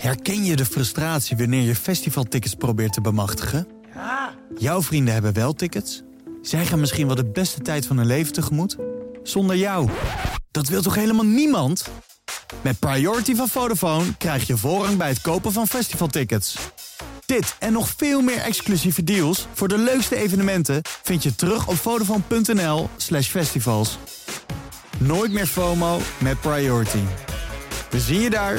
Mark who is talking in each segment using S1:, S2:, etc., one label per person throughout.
S1: Herken je de frustratie wanneer je festivaltickets probeert te bemachtigen? Jouw vrienden hebben wel tickets. Zij gaan misschien wel de beste tijd van hun leven tegemoet. Zonder jou. Dat wil toch helemaal niemand? Met Priority van Vodafone krijg je voorrang bij het kopen van festivaltickets. Dit en nog veel meer exclusieve deals voor de leukste evenementen... vind je terug op vodafone.nl slash festivals. Nooit meer FOMO met Priority. We zien je daar.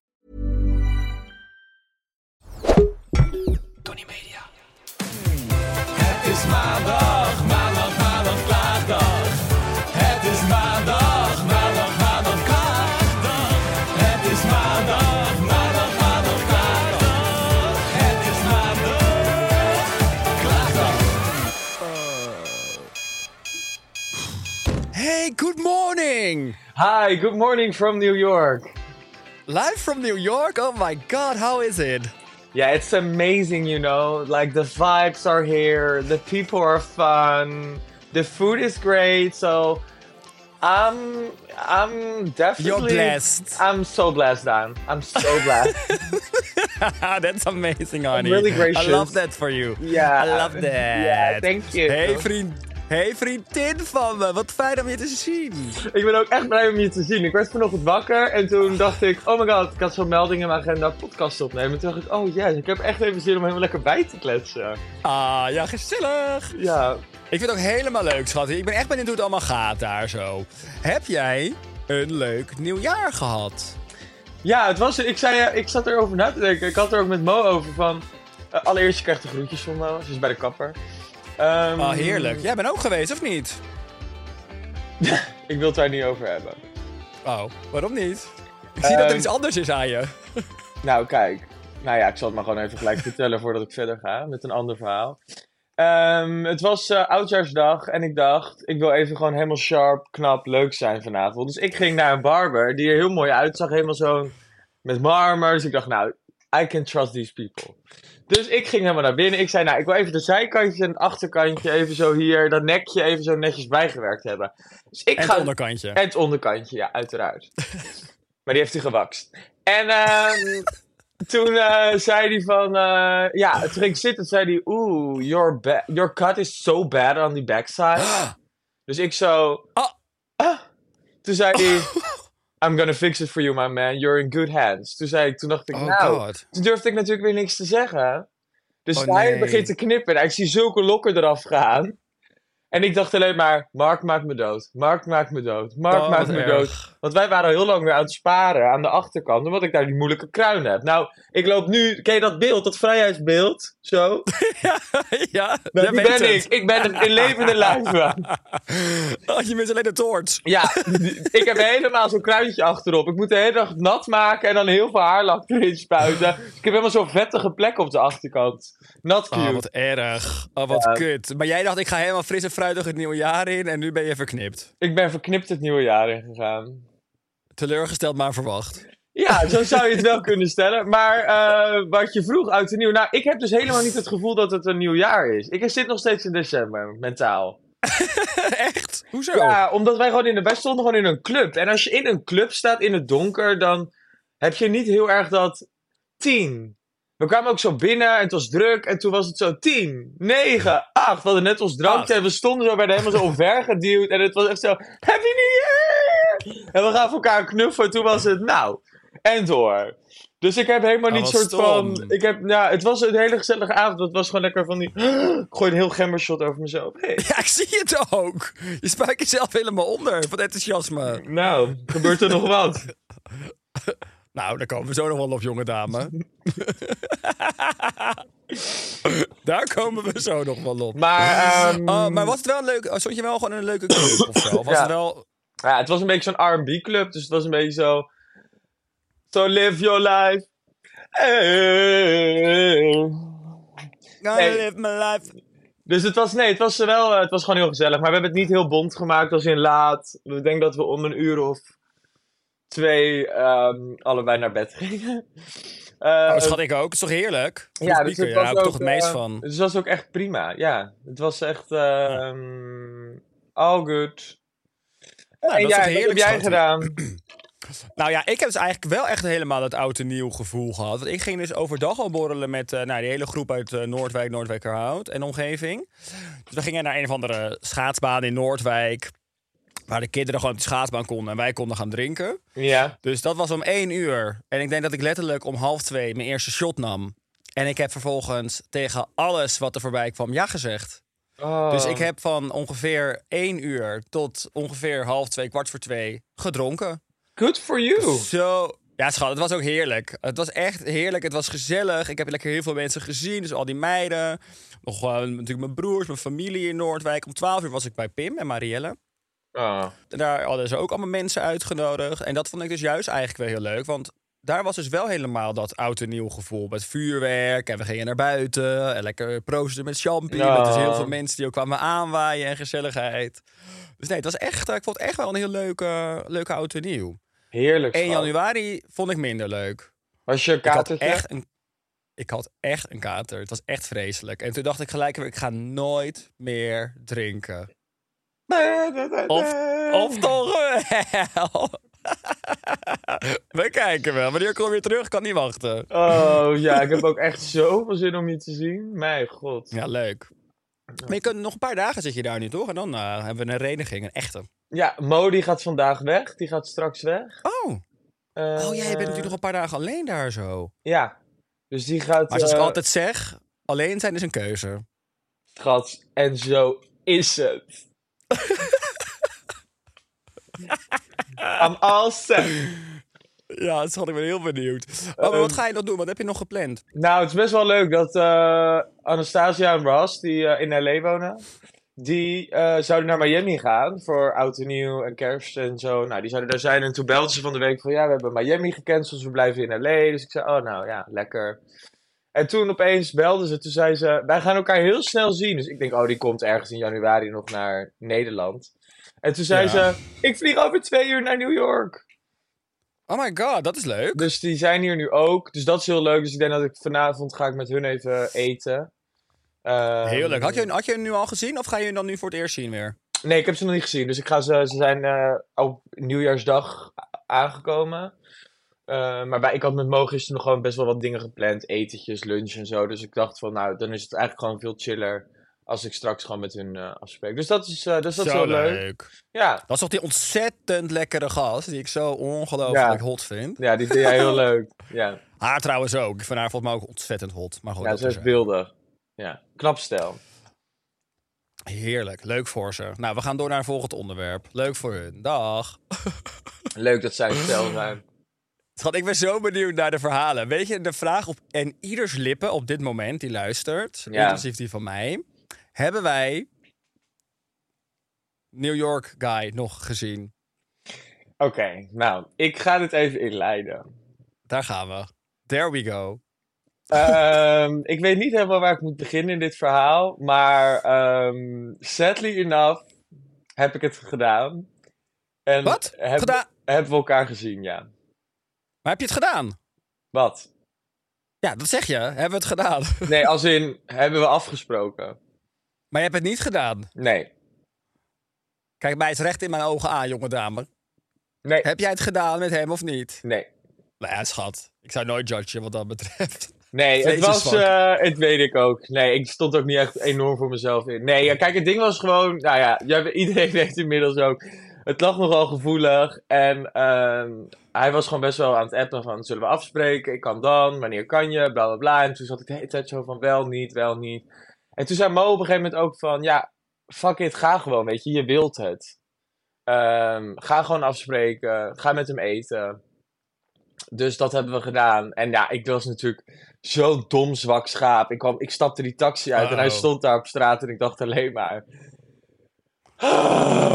S2: Tony Media. Het is maandag, maandag, maandag, klaagdag. Het is maandag, maandag, maandag, klaagdag. Het is maandag, maandag, maandag, klaagdag. Het is maandag, klaagdag.
S3: Hey, good morning!
S2: Hi, good morning from New York.
S3: Live from New York? Oh my god, how is it?
S2: Yeah, it's amazing, you know. Like the vibes are here, the people are fun, the food is great. So I'm I'm definitely
S3: blessed.
S2: I'm so blessed, Dan. I'm so blessed.
S3: That's amazing, Arnie.
S2: really gracious.
S3: I love that for you.
S2: Yeah.
S3: I love that.
S2: Yeah, thank you.
S3: Hey, vriend. Hey, vriendin van me. Wat fijn om je te zien.
S2: ik ben ook echt blij om je te zien. Ik werd vanochtend wakker en toen dacht ik, oh my god, ik had zo'n melding in mijn agenda podcast opnemen. En toen dacht ik, oh yes, ik heb echt even zin om helemaal lekker bij te kletsen.
S3: Ah, ja, gezellig.
S2: Ja.
S3: Ik vind het ook helemaal leuk, schat. Ik ben echt benieuwd hoe het allemaal gaat daar zo. Heb jij een leuk nieuwjaar gehad?
S2: Ja, het was, ik, zei, eh, ik zat erover na te denken. Ik had er ook met Mo over van. eh, allereerst, je krijgt de groetjes van Mo. Ze is bij de kapper. Ehm,
S3: Ah, heerlijk. Jij bent ook geweest, of niet?
S2: Ik wil het daar niet over hebben.
S3: Oh, waarom niet? Ik zie dat er
S2: Ehm.
S3: iets anders is aan je.
S2: Nou, kijk. Nou ja, ik zal het maar gewoon even gelijk vertellen voordat ik verder ga met een ander verhaal. Ehm, het was eh, oudjaarsdag en ik dacht, ik wil even gewoon helemaal sharp, knap, leuk zijn vanavond. Dus ik ging naar een barber die er heel mooi uitzag, helemaal zo'n met marmers. Ik dacht, nou, I can trust these people. Dus ik ging helemaal naar binnen. Ik zei, nou, ik wil even de zijkantje en het achterkantje even zo hier, dat nekje even zo netjes bijgewerkt hebben. Dus ik
S3: En
S2: ga
S3: het onderkantje.
S2: en het onderkantje, ja, uiteraard. maar die heeft hij gewakst. En ehm, toen eh, zei hij van... eh, ja, toen ging ik zitten, zei hij... Oeh, your, ba- your cut is so bad on the backside. dus ik zo...
S3: Ah.
S2: "Ah." Toen zei hij... I'm gonna fix it for you, my man. You're in good hands. Toen, zei ik, toen dacht ik,
S3: Oh
S2: nou...
S3: god.
S2: Toen durfde ik natuurlijk weer niks te zeggen. Dus
S3: Oh,
S2: hij
S3: nee.
S2: begint te knippen. En ik zie zulke lokken eraf gaan. En ik dacht alleen maar, Mark maakt me dood. Mark maakt me dood. Mark
S3: Oh,
S2: maakt
S3: wat
S2: me
S3: erg.
S2: dood. Want wij waren al heel lang weer aan het sparen aan de achterkant. Omdat ik daar die moeilijke kruin heb. Nou, ik loop nu... Ken je dat beeld? Dat vrijheidsbeeld? Zo?
S3: ja,
S2: Nou,
S3: jij
S2: die
S3: weet
S2: ben
S3: het.
S2: ik. Ik ben het in levende lijve.
S3: Oh, je bent alleen de toorts.
S2: Ja, ik heb helemaal zo'n kruintje achterop. Ik moet de hele dag nat maken en dan heel veel haarlak erin spuiten. Dus ik heb helemaal zo'n vettige plek op de achterkant. Not cute.
S3: Oh, wat erg. Oh, wat kut. Maar jij dacht, ik ga helemaal fris en fruitig het nieuwe jaar in en nu ben je verknipt.
S2: Ik ben verknipt het nieuwe jaar ingegaan.
S3: Teleurgesteld, maar verwacht.
S2: Ja, zo zou je het wel kunnen stellen. Maar eh, wat je vroeg, uit en nieuw. Nou, ik heb dus helemaal niet het gevoel dat het een nieuw jaar is. Ik zit nog steeds in december, mentaal.
S3: Echt? Hoezo?
S2: Ja, omdat wij gewoon in de... Wij stonden gewoon in een club. En als je in een club staat in het donker, dan heb je niet heel erg dat... Tien. We kwamen ook zo binnen en het was druk. En toen was het zo tien, negen, acht. We hadden net ons
S3: Acht.
S2: drankje en we stonden zo bijna helemaal zo omvergeduwd. En het was echt zo... Happy New Year! En we gaven elkaar een knuffel. En toen was het nou... En door. Dus ik heb helemaal
S3: Oh,
S2: niet
S3: wat
S2: soort
S3: stom.
S2: van... Ik heb, nou, het was een hele gezellige avond. Het was gewoon lekker van die... Ik gooi een heel gembershot over mezelf. Hey.
S3: Ja, ik zie het ook. Je spuik jezelf helemaal onder van enthousiasme.
S2: Nou, gebeurt er nog wat?
S3: Nou, daar komen we zo nog wel op, jonge dame. daar komen we zo nog wel op.
S2: Maar ehm,
S3: Oh, maar was het wel een leuke... oh, Stond je wel gewoon in een leuke club of zo? Of was
S2: Ja.
S3: het wel...
S2: ja, het was een beetje zo'n RB-club, dus het was een beetje zo. So live your life. Hey.
S3: Gonna
S2: Nee.
S3: live my life.
S2: Dus het was, nee, het was, wel, eh, het was gewoon heel gezellig. Maar we hebben het niet heel bond gemaakt, als in laat. Ik denk dat we om een uur of twee ehm, allebei naar bed gingen. Eh,
S3: Oh, schat ik ook. Het is toch heerlijk? Vroeg
S2: dus
S3: pieken,
S2: het
S3: daar
S2: was
S3: hou ik toch
S2: ook,
S3: het meest
S2: eh,
S3: van.
S2: Dus dat was ook echt prima, ja. Het was echt ehm all good.
S3: Nou,
S2: en
S3: dat is toch
S2: jij, wat
S3: heerlijk,
S2: heb jij
S3: schat.
S2: gedaan?
S3: Nou ja, ik heb dus eigenlijk wel echt helemaal dat oud en nieuw gevoel gehad. Want ik ging dus overdag al borrelen met eh, nou, die hele groep uit eh, Noordwijk, Noordwijkerhout en omgeving. Dus we gingen naar een of andere schaatsbaan in Noordwijk. Waar de kinderen gewoon op de schaatsbaan konden en wij konden gaan drinken.
S2: Ja.
S3: Dus dat was om één uur. En ik denk dat ik letterlijk om half twee mijn eerste shot nam. En ik heb vervolgens tegen alles wat er voorbij kwam ja gezegd.
S2: Oh.
S3: Dus ik heb van ongeveer één uur tot ongeveer half twee, kwart voor twee gedronken.
S2: Good for you.
S3: Zo. Ja, schat, het was ook heerlijk. Het was echt heerlijk. Het was gezellig. Ik heb lekker heel veel mensen gezien. Dus al die meiden. Nog eh, natuurlijk mijn broers, mijn familie in Noordwijk. Om 12 uur was ik bij Pim en Marielle.
S2: Oh.
S3: En daar hadden ze ook allemaal mensen uitgenodigd. En dat vond ik dus juist eigenlijk wel heel leuk. Want daar was dus wel helemaal dat oud en nieuw gevoel. Met vuurwerk en we gingen naar buiten. En lekker proosten met champagne.
S2: Ja.
S3: Met dus heel veel mensen die ook kwamen aanwaaien en gezelligheid. Dus nee, het was echt, eh, ik vond het echt wel een heel leuke, leuke oud en nieuw.
S2: Heerlijk.
S3: 1
S2: schat.
S3: januari vond ik minder leuk.
S2: Was je
S3: Ik had,
S2: katertje?
S3: echt een, ik had echt een kater. Het was echt vreselijk. En toen dacht ik gelijk, weer, ik ga nooit meer drinken. Of, of toch wel. We kijken wel. Wanneer kom je weer terug? Kan niet wachten.
S2: Oh ja, ik heb ook echt zoveel zin om je te zien. Mijn god.
S3: Ja, leuk. Maar je kunt, nog een paar dagen zit je daar nu, toch? En dan eh, hebben we een reniging, een echte.
S2: Ja, Mo die gaat vandaag weg. Die gaat straks weg.
S3: Oh,
S2: Eh,
S3: oh jij bent natuurlijk nog een paar dagen alleen daar zo.
S2: Ja. Dus die gaat...
S3: Maar zoals ik
S2: eh,
S3: altijd zeg, alleen zijn is een keuze.
S2: Schat, en zo is het. I'm all set.
S3: Ja, dat had ik ben heel benieuwd. Oh, Ehm. Maar wat ga je nog doen? Wat heb je nog gepland?
S2: Nou, het is best wel leuk dat eh, Anastasia en Ross, die eh, in L.A. wonen... Die eh, zouden naar Miami gaan voor oud en nieuw en kerst en zo. Nou, die zouden daar zijn. En toen belden ze van de week van... Ja, we hebben Miami gecanceld, we blijven in L.A. Dus ik zei, oh nou ja, lekker. En toen opeens belden ze. Toen zei ze, wij gaan elkaar heel snel zien. Dus ik denk, oh, die komt ergens in januari nog naar Nederland. En toen zei
S3: Ja.
S2: ze, ik vlieg over twee uur naar New York.
S3: Oh my god, dat is leuk.
S2: Dus die zijn hier nu ook. Dus dat is heel leuk. Dus ik denk dat ik vanavond ga ik met hun even eten. Ehm,
S3: Heerlijk. Had je, had je hem nu al gezien of ga je hem dan nu voor het eerst zien weer?
S2: Nee, ik heb ze nog niet gezien. Dus ik ga ze, ze zijn eh, op nieuwjaarsdag a- aangekomen. Eh, maar bij, ik had met Mo gisteren nog gewoon best wel wat dingen gepland. Etentjes, lunch en zo. Dus ik dacht van, nou, dan is het eigenlijk gewoon veel chiller als ik straks gewoon met hun eh, afspreek. Dus dat is, eh, dus dat is wel leuk. Ja.
S3: Dat is toch die ontzettend lekkere gast die ik zo ongelooflijk
S2: Ja.
S3: hot vind.
S2: ja, die vind jij heel leuk. Ja,
S3: Haar Ah, trouwens ook. Ik vind haar volgens mij ook ontzettend hot. Maar goed,
S2: ja
S3: dat dus-
S2: ze is
S3: is
S2: beeldig. Ja, knap stel.
S3: heerlijk. Leuk voor ze. Nou, we gaan door naar een volgend onderwerp. Leuk voor hun. Dag.
S2: Leuk dat zij een stel zijn.
S3: Schat, ik ben zo benieuwd naar de verhalen. Weet je, de vraag op en ieders lippen op dit moment die luistert,
S2: Ja.
S3: inclusief die van mij, hebben wij New York Guy nog gezien?
S2: Oké, nou, ik ga dit even inleiden.
S3: Daar gaan we. There we go.
S2: Ehm, ik weet niet helemaal waar ik moet beginnen in dit verhaal, maar ehm, sadly enough heb ik het gedaan. En
S3: Wat?
S2: heb-
S3: Gedaan?
S2: Hebben we elkaar gezien, ja.
S3: Maar heb je het gedaan?
S2: Wat?
S3: Ja, dat zeg je. Hebben we het gedaan?
S2: Nee, als in, hebben we afgesproken?
S3: Maar je hebt het niet gedaan.
S2: Nee.
S3: Kijk mij eens recht in mijn ogen aan, jonge dame.
S2: Nee.
S3: Heb jij het gedaan met hem of niet?
S2: Nee.
S3: Nou ja, schat. Ik zou nooit judgen wat dat betreft.
S2: Nee, het was,
S3: Vleesjesvak.
S2: eh, het weet ik ook. Nee, ik stond ook niet echt enorm voor mezelf in. Nee, ja, kijk, het ding was gewoon, nou ja, jij- iedereen weet inmiddels ook. Het lag nogal gevoelig en ehm, hij was gewoon best wel aan het appen van, zullen we afspreken? Ik kan dan, wanneer kan je? Bla bla bla. En toen zat ik de hele tijd zo van, wel niet, wel niet. En toen zei Mo op een gegeven moment ook van, ja, fuck it, ga gewoon, weet je, je wilt het. Ehm, ga gewoon afspreken, ga met hem eten. Dus dat hebben we gedaan. En ja, ik was natuurlijk zo'n dom zwak schaap. Ik, kwam, ik stapte die taxi uit en hij
S3: Oh.
S2: stond daar op straat en ik dacht alleen maar...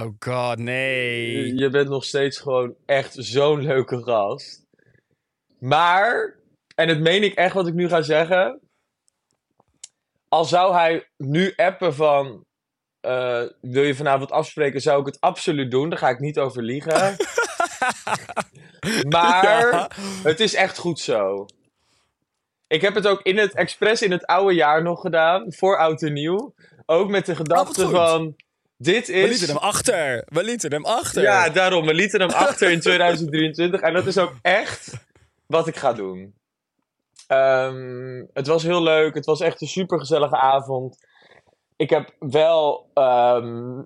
S3: Oh god, nee.
S2: Je bent nog steeds gewoon echt zo'n leuke gast. Maar, en dat meen ik echt wat ik nu ga zeggen. Al zou hij nu appen van. eh, wil je vanavond afspreken? Zou ik het absoluut doen. Daar ga ik niet over liegen. maar
S3: Ja.
S2: het is echt goed zo. Ik heb het ook in het expres in het oude jaar nog gedaan. Voor oud en nieuw. Ook met de gedachte
S3: Oh, goed.
S2: van. Dit
S3: We
S2: is.
S3: lieten hem achter. We lieten hem achter.
S2: Ja, daarom. We lieten hem achter in 2023. En dat is ook echt wat ik ga doen. Ehm, het was heel leuk. Het was echt een supergezellige avond. Ik heb wel, ehm,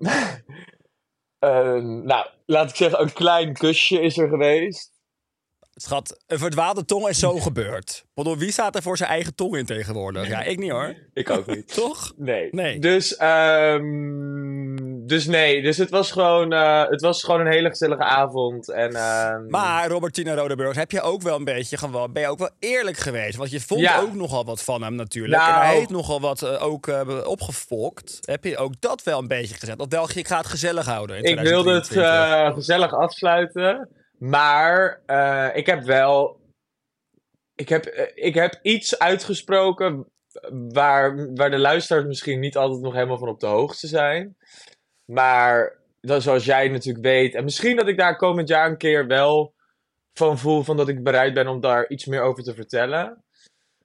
S2: ehm, nou, laat ik zeggen, een klein kusje is er geweest.
S3: Schat, een verdwaalde tong is zo gebeurd. Bedoel, wie staat er voor zijn eigen tong in tegenwoordig? Ja, ik niet hoor.
S2: Ik ook niet.
S3: Toch?
S2: Nee.
S3: Nee.
S2: Dus, ehm, dus nee. Dus het was gewoon, eh, het was gewoon een hele gezellige avond. En, ehm,
S3: Maar Robertina Rodeburg, heb je ook wel een beetje gewoon, ben je ook wel eerlijk geweest? Want je vond
S2: Ja.
S3: ook nogal wat van hem natuurlijk.
S2: Nou.
S3: En hij heeft nogal wat eh, ook eh, opgefokt. Heb je ook dat wel een beetje gezegd? Of wel, ik ga het gezellig houden in
S2: Ik wilde het
S3: 2023?
S2: eh, gezellig afsluiten. Maar eh, ik heb wel. Ik heb, eh, ik heb iets uitgesproken. Waar, waar de luisteraars misschien niet altijd nog helemaal van op de hoogte zijn. Maar dat, zoals jij natuurlijk weet. En misschien dat ik daar komend jaar een keer wel van voel. Van dat ik bereid ben om daar iets meer over te vertellen.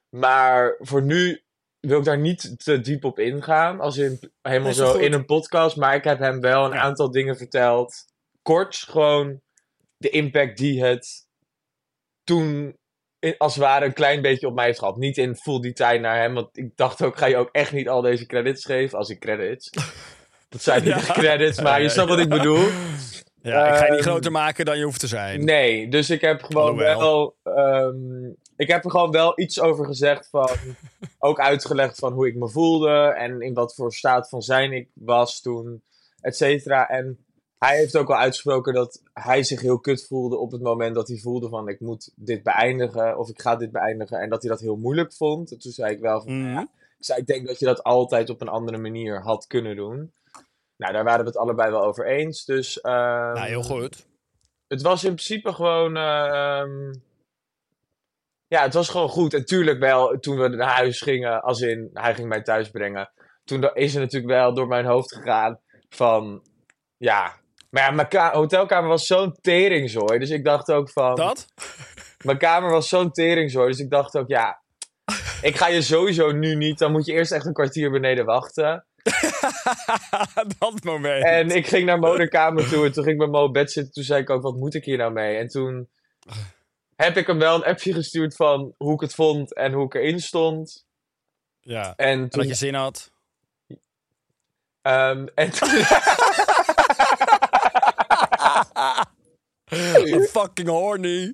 S2: Maar voor nu wil ik daar niet te diep op ingaan. Als in helemaal
S3: Is dat
S2: zo
S3: goed?
S2: in een podcast. Maar ik heb hem wel een
S3: Ja.
S2: aantal dingen verteld. Kort gewoon de impact die het toen in- als het ware een klein beetje op mij heeft gehad. Niet in full detail naar hem. Want ik dacht ook, ga je ook echt niet al deze credits geven? Als ik credits. Dat zijn niet
S3: Ja.
S2: echt credits, maar je
S3: Ja,
S2: snapt wat
S3: ja.
S2: ik bedoel.
S3: Ja, ik ga je niet
S2: ehm,
S3: groter maken dan je hoeft te zijn.
S2: Nee, dus ik heb gewoon
S3: Alhoewel.
S2: wel. ehm, ik heb er gewoon wel iets over gezegd. Van, ook uitgelegd van hoe ik me voelde. En in wat voor staat van zijn ik was toen, et cetera. En hij heeft ook al uitgesproken dat hij zich heel kut voelde op het moment dat hij voelde van ik moet dit beëindigen of ik ga dit beëindigen. En dat hij dat heel moeilijk vond. En toen zei ik wel van
S3: Mhm.
S2: ik zei, ik denk dat je dat altijd op een andere manier had kunnen doen. Nou, daar waren we het allebei wel over eens. Dus ehm,
S3: Nou, heel goed.
S2: het was in principe gewoon. ehm, ja, het was gewoon goed. En tuurlijk wel, toen we naar huis gingen, als in hij ging mij thuis brengen. Toen da- is er natuurlijk wel door mijn hoofd gegaan van. Ja. Maar ja, mijn ka- hotelkamer was zo'n teringzooi. Dus ik dacht ook van.
S3: Dat?
S2: Mijn kamer was zo'n teringzooi, dus ik dacht ook, ja, ik ga je sowieso nu niet. Dan moet je eerst echt een kwartier beneden wachten.
S3: dat moment.
S2: En ik ging naar Mo de kamer toe en toen ging ik bij Mo op bed zitten. Toen zei ik ook, wat moet ik hier nou mee? En toen heb ik hem wel een appje gestuurd van hoe ik het vond en hoe ik erin stond.
S3: Ja. En
S2: En
S3: dat
S2: toen...
S3: je zin had.
S2: ehm, en toen-
S3: I'm fucking horny.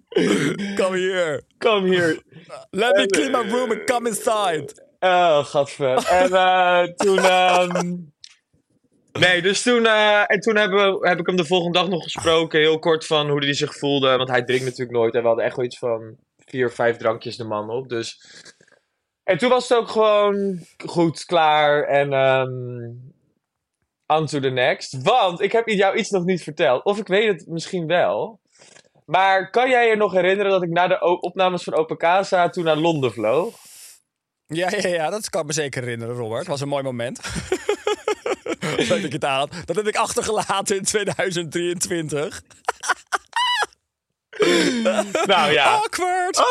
S3: Come here.
S2: kom hier.
S3: Let me clean
S2: eh,
S3: my room and come inside.
S2: Oh, gadver. En eh, toen... ehm, Nee, dus toen, eh, en toen hebben we, heb ik hem de volgende dag nog gesproken. Heel kort van hoe hij zich voelde. Want hij drinkt natuurlijk nooit. En we hadden echt wel iets van vier, vijf drankjes de man op. Dus. En toen was het ook gewoon goed, klaar. En. ehm on to the next. Want ik heb jou iets nog niet verteld. Of ik weet het misschien wel. Maar kan jij je nog herinneren dat ik na de o- opnames van Open Casa toen naar Londen vloog?
S3: Ja, ja, ja, dat kan ik me zeker herinneren, Robert. Het was een mooi moment. Leuk dat ik het aan had. Dat heb ik achtergelaten in 2023.
S2: Nou ja.
S3: Awkward!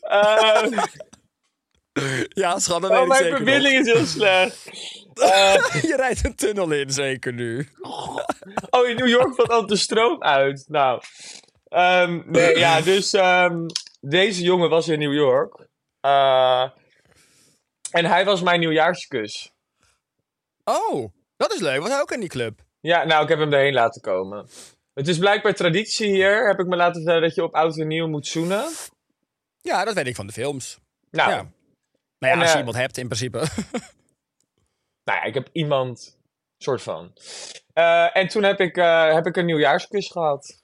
S2: Eh,
S3: Ja, schat, dat
S2: oh,
S3: weet ik
S2: mijn
S3: zeker nog.
S2: verbinding is heel slecht. Eh,
S3: Je rijdt een tunnel in, zeker nu.
S2: Oh, in New York valt altijd de stroom uit. Nou, ehm, nee, ja, dus ehm, deze jongen was in New York. Eh, en hij was mijn nieuwjaarskus.
S3: Oh, dat is leuk. Was hij ook in die club?
S2: Ja, nou, ik heb hem erheen laten komen. Het is blijkbaar traditie hier, heb ik me laten vertellen, dat je op oud en nieuw moet zoenen.
S3: Ja, dat weet ik van de films.
S2: Nou,
S3: Ja. Nou
S2: En,
S3: ja, als je
S2: eh,
S3: iemand hebt, in principe.
S2: nou ja, ik heb iemand, soort van. Eh, en toen heb ik, eh, heb ik een nieuwjaarskus gehad.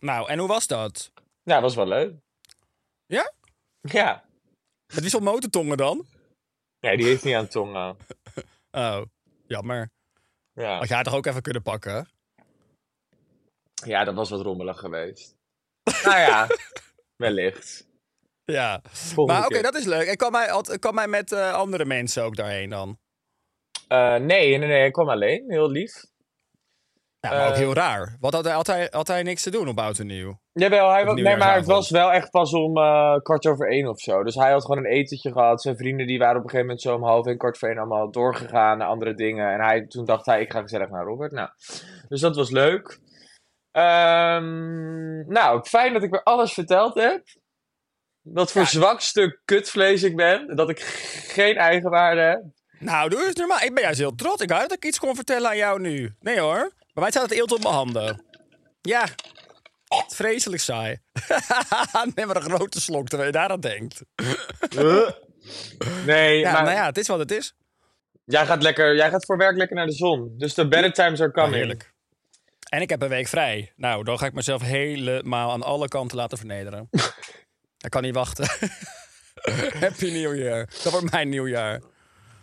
S3: nou, en hoe was dat?
S2: Nou, was wel leuk.
S3: Ja?
S2: Ja.
S3: Met wie stond motortongen dan?
S2: Nee, die heeft niet aan tongen.
S3: Oh, jammer.
S2: Ja.
S3: Had jij toch ook even kunnen pakken?
S2: ja, dat was wat rommelig geweest. nou ja, wellicht.
S3: Ja.
S2: Volgende
S3: maar oké,
S2: keer.
S3: dat is leuk. En kwam hij, al- kwam hij met eh, andere mensen ook daarheen dan?
S2: Eh, nee, nee, nee, ik kwam alleen. Heel lief.
S3: Ja, Nou, maar ook
S2: Eh,
S3: heel raar. Wat had hij, had, hij, had hij niks te doen op Oud en Nieuw?
S2: Jawel, hij
S3: Op
S2: was, nee, maar het
S3: nieuwjaarsavond.
S2: was wel echt pas om eh, kwart over één of zo. Dus hij had gewoon een etentje gehad. Zijn vrienden die waren op een gegeven moment zo om half één, kwart voor één allemaal doorgegaan naar andere dingen. En hij, toen dacht hij, ik ga gezellig naar Robert. Nou, dus dat was leuk. Ehm, nou, fijn dat ik weer alles verteld heb. Wat voor zwak stuk kutvlees ik ben. Dat ik geen eigenwaarde heb.
S3: Nou, doe eens normaal. Ik ben juist heel trots. Ik wou dat ik iets kon vertellen aan jou nu. Nee hoor. Bij mij staat het eelt op mijn handen. Ja. Vreselijk saai. Neem maar een grote slok terwijl je daar aan denkt.
S2: Nee,
S3: Ja,
S2: maar
S3: nou ja, het is wat het is.
S2: Jij, gaat lekker, jij gaat voor werk lekker naar de zon. Dus de better times are coming.
S3: Heerlijk. En ik heb een week vrij. Nou, dan ga ik mezelf helemaal aan alle kanten laten vernederen. ik kan niet wachten. Happy New Year. Dat wordt mijn nieuwjaar.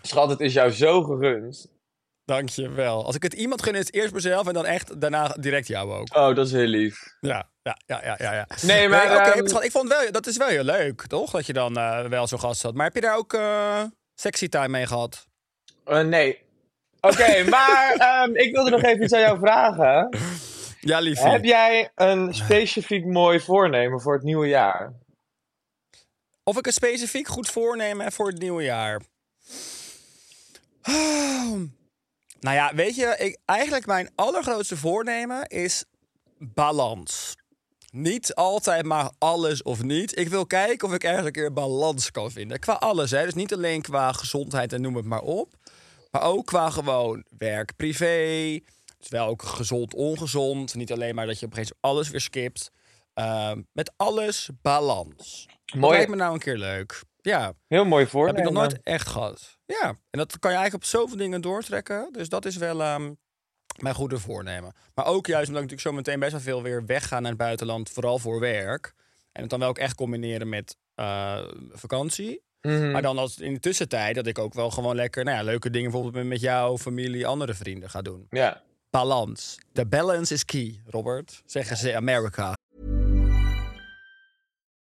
S2: Schat, het is jou zo gegund.
S3: Dankjewel. Als ik het iemand gun, is het eerst mezelf en dan echt daarna direct jou ook.
S2: Oh, dat is heel lief.
S3: Ja, ja, ja, ja, ja. ja.
S2: Nee, maar,
S3: oké,
S2: ehm,
S3: maar schat, ik vond wel, dat is wel heel leuk, toch? Dat je dan eh, wel zo'n gast had. Maar heb je daar ook eh, sexy time mee gehad?
S2: Eh, nee. Oké, maar ehm, ik wilde nog even iets aan jou vragen.
S3: Ja, liefie.
S2: Heb jij een specifiek mooi voornemen voor het nieuwe jaar?
S3: Of ik een specifiek goed voornemen heb voor het nieuwe jaar. Ah, nou ja, weet je, ik, eigenlijk mijn allergrootste voornemen is balans. Niet altijd maar alles of niet. Ik wil kijken of ik ergens een keer balans kan vinden. Qua alles, hè. Dus niet alleen qua gezondheid en noem het maar op. Maar ook qua gewoon werk, privé. Dus wel ook gezond, ongezond. Niet alleen maar dat je op een gegeven moment alles weer skipt. Ehm, met alles balans. Dat
S2: Mooi.
S3: lijkt me nou een keer leuk. Ja,
S2: Heel mooi
S3: heb
S2: voornemen.
S3: ik nog nooit echt gehad. Ja, en dat kan je eigenlijk op zoveel dingen doortrekken. Dus dat is wel ehm, mijn goede voornemen. Maar ook juist omdat ik natuurlijk zo meteen best wel veel weer wegga naar het buitenland. Vooral voor werk. En het dan wel ook echt combineren met eh, vakantie.
S2: Mhm.
S3: Maar dan als in de tussentijd dat ik ook wel gewoon lekker nou ja, leuke dingen bijvoorbeeld met jou, familie, andere vrienden ga doen.
S2: Ja.
S3: Balans. De balance is key, Robert. Zeggen ze in Amerika.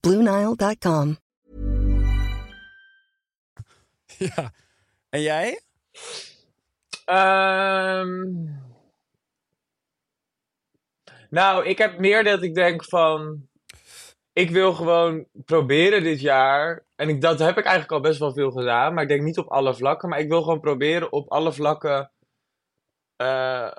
S4: Bluenile.com.
S3: Ja. En jij?
S2: Ehm, nou, ik heb meer dat ik denk van... Ik wil gewoon proberen dit jaar... En ik, dat heb ik eigenlijk al best wel veel gedaan. Maar ik denk niet op alle vlakken. Maar ik wil gewoon proberen op alle vlakken... eh,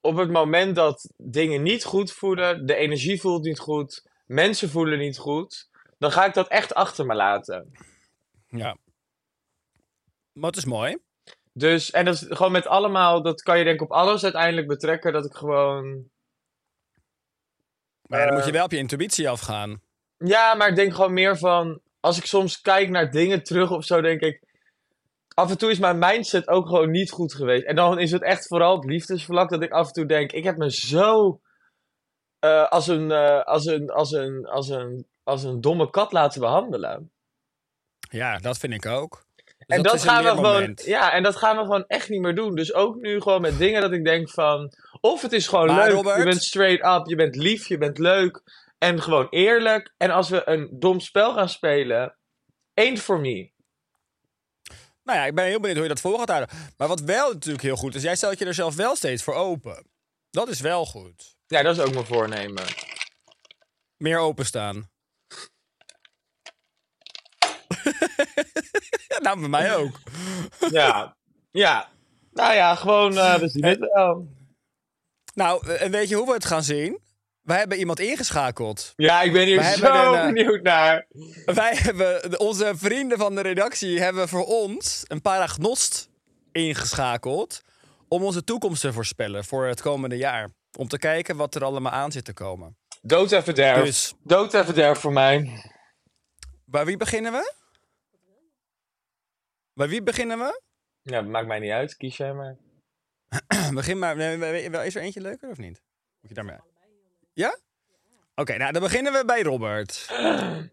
S2: op het moment dat dingen niet goed voelen... De energie voelt niet goed. Mensen voelen niet goed. Dan ga ik dat echt achter me laten.
S3: Ja. Maar het is mooi.
S2: Dus, en dat is gewoon met allemaal, dat kan je denk ik op alles uiteindelijk betrekken, dat ik gewoon...
S3: Maar ja, dan
S2: Eh,
S3: moet je wel op je intuïtie afgaan.
S2: Ja, maar ik denk gewoon meer van, als ik soms kijk naar dingen terug of zo, denk ik... Af en toe is mijn mindset ook gewoon niet goed geweest. En dan is het echt vooral op liefdesvlak dat ik af en toe denk, ik heb me zo eh, als, een, eh, als, een, als, een, als, een, als een domme kat laten behandelen.
S3: Ja, dat vind ik ook. Dus
S2: En dat,
S3: is een
S2: gaan we gewoon,
S3: leermoment.
S2: ja, en dat gaan we gewoon echt niet meer doen. Dus ook nu gewoon met dingen dat ik denk van... Of het is gewoon
S3: Maar
S2: leuk, je
S3: Robert-
S2: bent straight up, je bent lief, je bent leuk. En gewoon eerlijk. En als we een dom spel gaan spelen... Ain't for me.
S3: Nou ja, ik ben heel benieuwd hoe je dat voor gaat houden. Maar wat wel natuurlijk heel goed is, jij stelt je er zelf wel steeds voor open. Dat is wel goed.
S2: Ja, dat is ook mijn voornemen.
S3: Meer openstaan. nou, bij mij ook.
S2: Ja. ja. Nou ja, gewoon, eh, we zien het wel.
S3: Nou, en weet je hoe we het gaan zien? Wij hebben iemand ingeschakeld.
S2: Ja, ik ben hier
S3: We hebben
S2: zo
S3: een, eh,
S2: benieuwd naar.
S3: Wij hebben, onze vrienden van de redactie hebben voor ons een paragnost ingeschakeld. om onze toekomst te voorspellen voor het komende jaar. Om te kijken wat er allemaal aan zit te komen.
S2: Dood en verderf.
S3: Dus-
S2: Dood en verderf voor mij.
S3: Bij wie beginnen we? Bij wie beginnen we?
S2: Ja, maakt mij niet uit. Kies jij maar.
S3: Begin maar. Nee, we- we- wel- is er eentje leuker of niet? Moet je daarmee? Ja? Oké, nou dan beginnen we bij Robert. We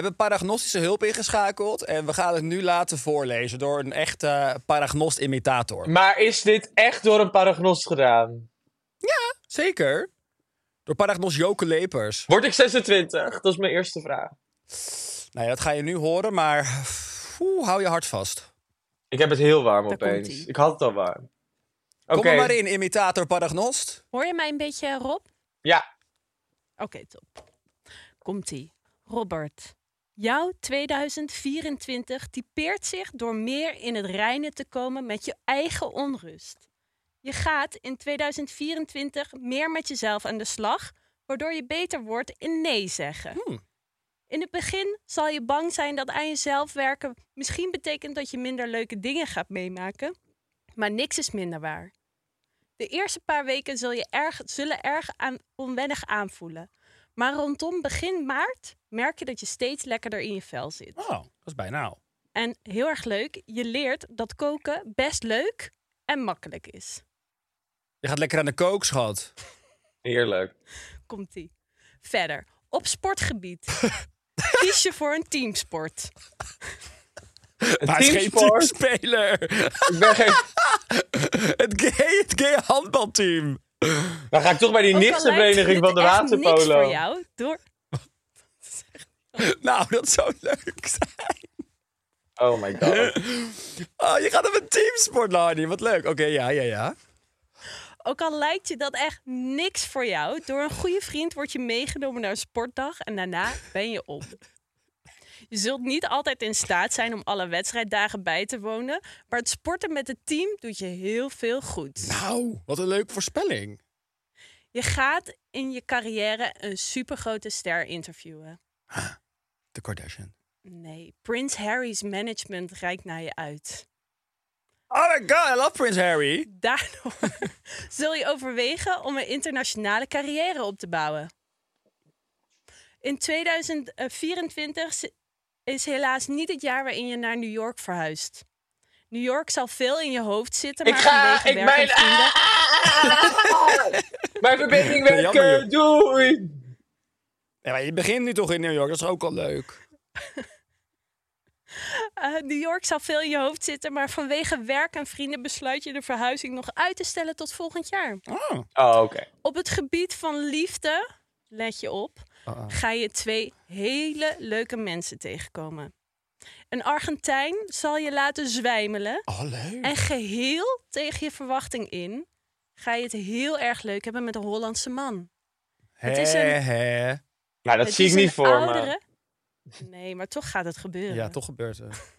S3: hebben paragnostische hulp ingeschakeld en we gaan het nu laten voorlezen door een echte paragnost-imitator.
S2: Maar is dit echt door een paragnost gedaan?
S3: Zeker. Door paragnost Joke Lepers.
S2: Word ik 26? Dat is mijn eerste vraag.
S3: Nou ja, dat ga je nu horen, maar oeh, hou je hart vast.
S2: Ik heb het heel warm
S5: Daar
S2: opeens.
S5: komt-ie.
S2: Ik had het al warm. Oké.
S3: Kom er maar in, imitator paragnost.
S5: Hoor je mij een beetje, Rob?
S2: Ja.
S5: Oké, top. Komt-ie. Robert, jouw 2024 typeert zich door meer in het reinen te komen met je eigen onrust. Je gaat in 2024 meer met jezelf aan de slag, waardoor je beter wordt in nee zeggen.
S3: Hmm.
S5: In het begin zal je bang zijn dat aan jezelf werken misschien betekent dat je minder leuke dingen gaat meemaken, maar niks is minder waar. De eerste paar weken zul je erg, zullen erg aan, onwennig aanvoelen. Maar rondom begin maart merk je dat je steeds lekkerder in je vel zit.
S3: Oh, dat is bijna al.
S5: En heel erg leuk, je leert dat koken best leuk en makkelijk is.
S3: Je gaat lekker aan de kook, schat.
S2: Heerlijk.
S5: Komt ie. Verder, op sportgebied. Kies je voor een teamsport.
S3: Maar het is geen
S2: teamsport.
S3: teamspeler.
S2: Ik ben geen...
S3: het, gay, het gay handbalteam.
S2: Dan ga ik toch bij die
S5: Ook al lijkt
S2: nichtsvereniging
S5: dit
S2: van de
S5: echt Niks
S2: waterpolo.
S5: voor jou. Door...
S3: Nou, dat zou leuk zijn.
S2: Oh my god.
S3: Oh, je gaat op een teamsport, Lardy. Wat leuk. Oké, ja, ja, ja.
S5: Ook al lijkt je dat echt niks voor jou, door een goede vriend word je meegenomen naar een sportdag en daarna ben je op. Je zult niet altijd in staat zijn om alle wedstrijddagen bij te wonen, maar het sporten met het team doet je heel veel goed.
S3: Nou, wat een leuke voorspelling.
S5: Je gaat in je carrière een supergrote ster interviewen.
S3: De Kardashian.
S5: Nee, Prins Harry's management reikt naar je uit.
S3: Oh my god, I love Prince Harry.
S5: Daardoor zul je overwegen om een internationale carrière op te bouwen. In 2024 z- is helaas niet het jaar waarin je naar New York verhuist. New York zal veel in je hoofd zitten,
S2: Ik
S5: maar
S2: ga...
S5: vanwege
S2: Ik
S5: werk en
S2: mijn...
S5: vrienden-
S2: Mijn verbinding
S3: Nee, jammer,
S2: werken. Doei.
S3: Ja, maar je begint nu toch in New York, dat is ook al leuk.
S5: Eh, New York zal veel in je hoofd zitten, maar vanwege werk en vrienden besluit je de verhuizing nog uit te stellen tot volgend jaar.
S3: Oh.
S2: Oh, oké.
S5: Op het gebied van liefde, let je op,
S2: Ah,
S5: ga je twee hele leuke mensen tegenkomen. Een Argentijn zal je laten zwijmelen
S3: Oh, leuk.
S5: en geheel tegen je verwachting in ga je het heel erg leuk hebben met een Hollandse man. het is een-
S3: hè.
S2: Nou, dat
S5: het
S2: zie
S5: is
S2: ik niet
S5: een
S2: voor me.
S5: oudere... Nee, maar toch gaat het gebeuren.
S3: Ja, toch gebeurt het.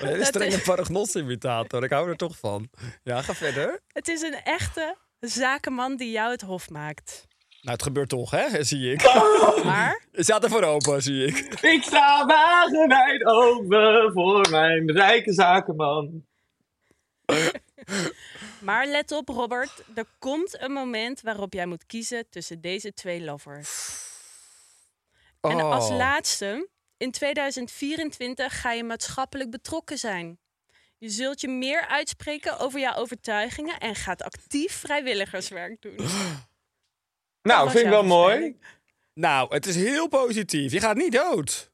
S3: Een hele
S5: Dat
S3: strenge
S5: is-
S3: paragnost-imitator. Ik hou er toch van. Ja, ga verder.
S5: Het is een echte zakenman die jou het hof maakt.
S3: Nou, het gebeurt toch, hè? Zie ik.
S5: Maar
S3: Je staat er voor open, zie ik.
S2: Ik sta wagenwijd open voor mijn rijke zakenman.
S5: Maar let op, Robert. Er komt een moment waarop jij moet kiezen tussen deze twee lovers. En als
S3: Oh.
S5: laatste, in 2024 ga je maatschappelijk betrokken zijn. Je zult je meer uitspreken over jouw overtuigingen en gaat actief vrijwilligerswerk doen.
S2: Nou,
S5: was
S2: vind ik
S5: jouw
S2: wel mooi.
S5: voorspelling.
S3: Nou, het is heel positief. Je gaat niet dood.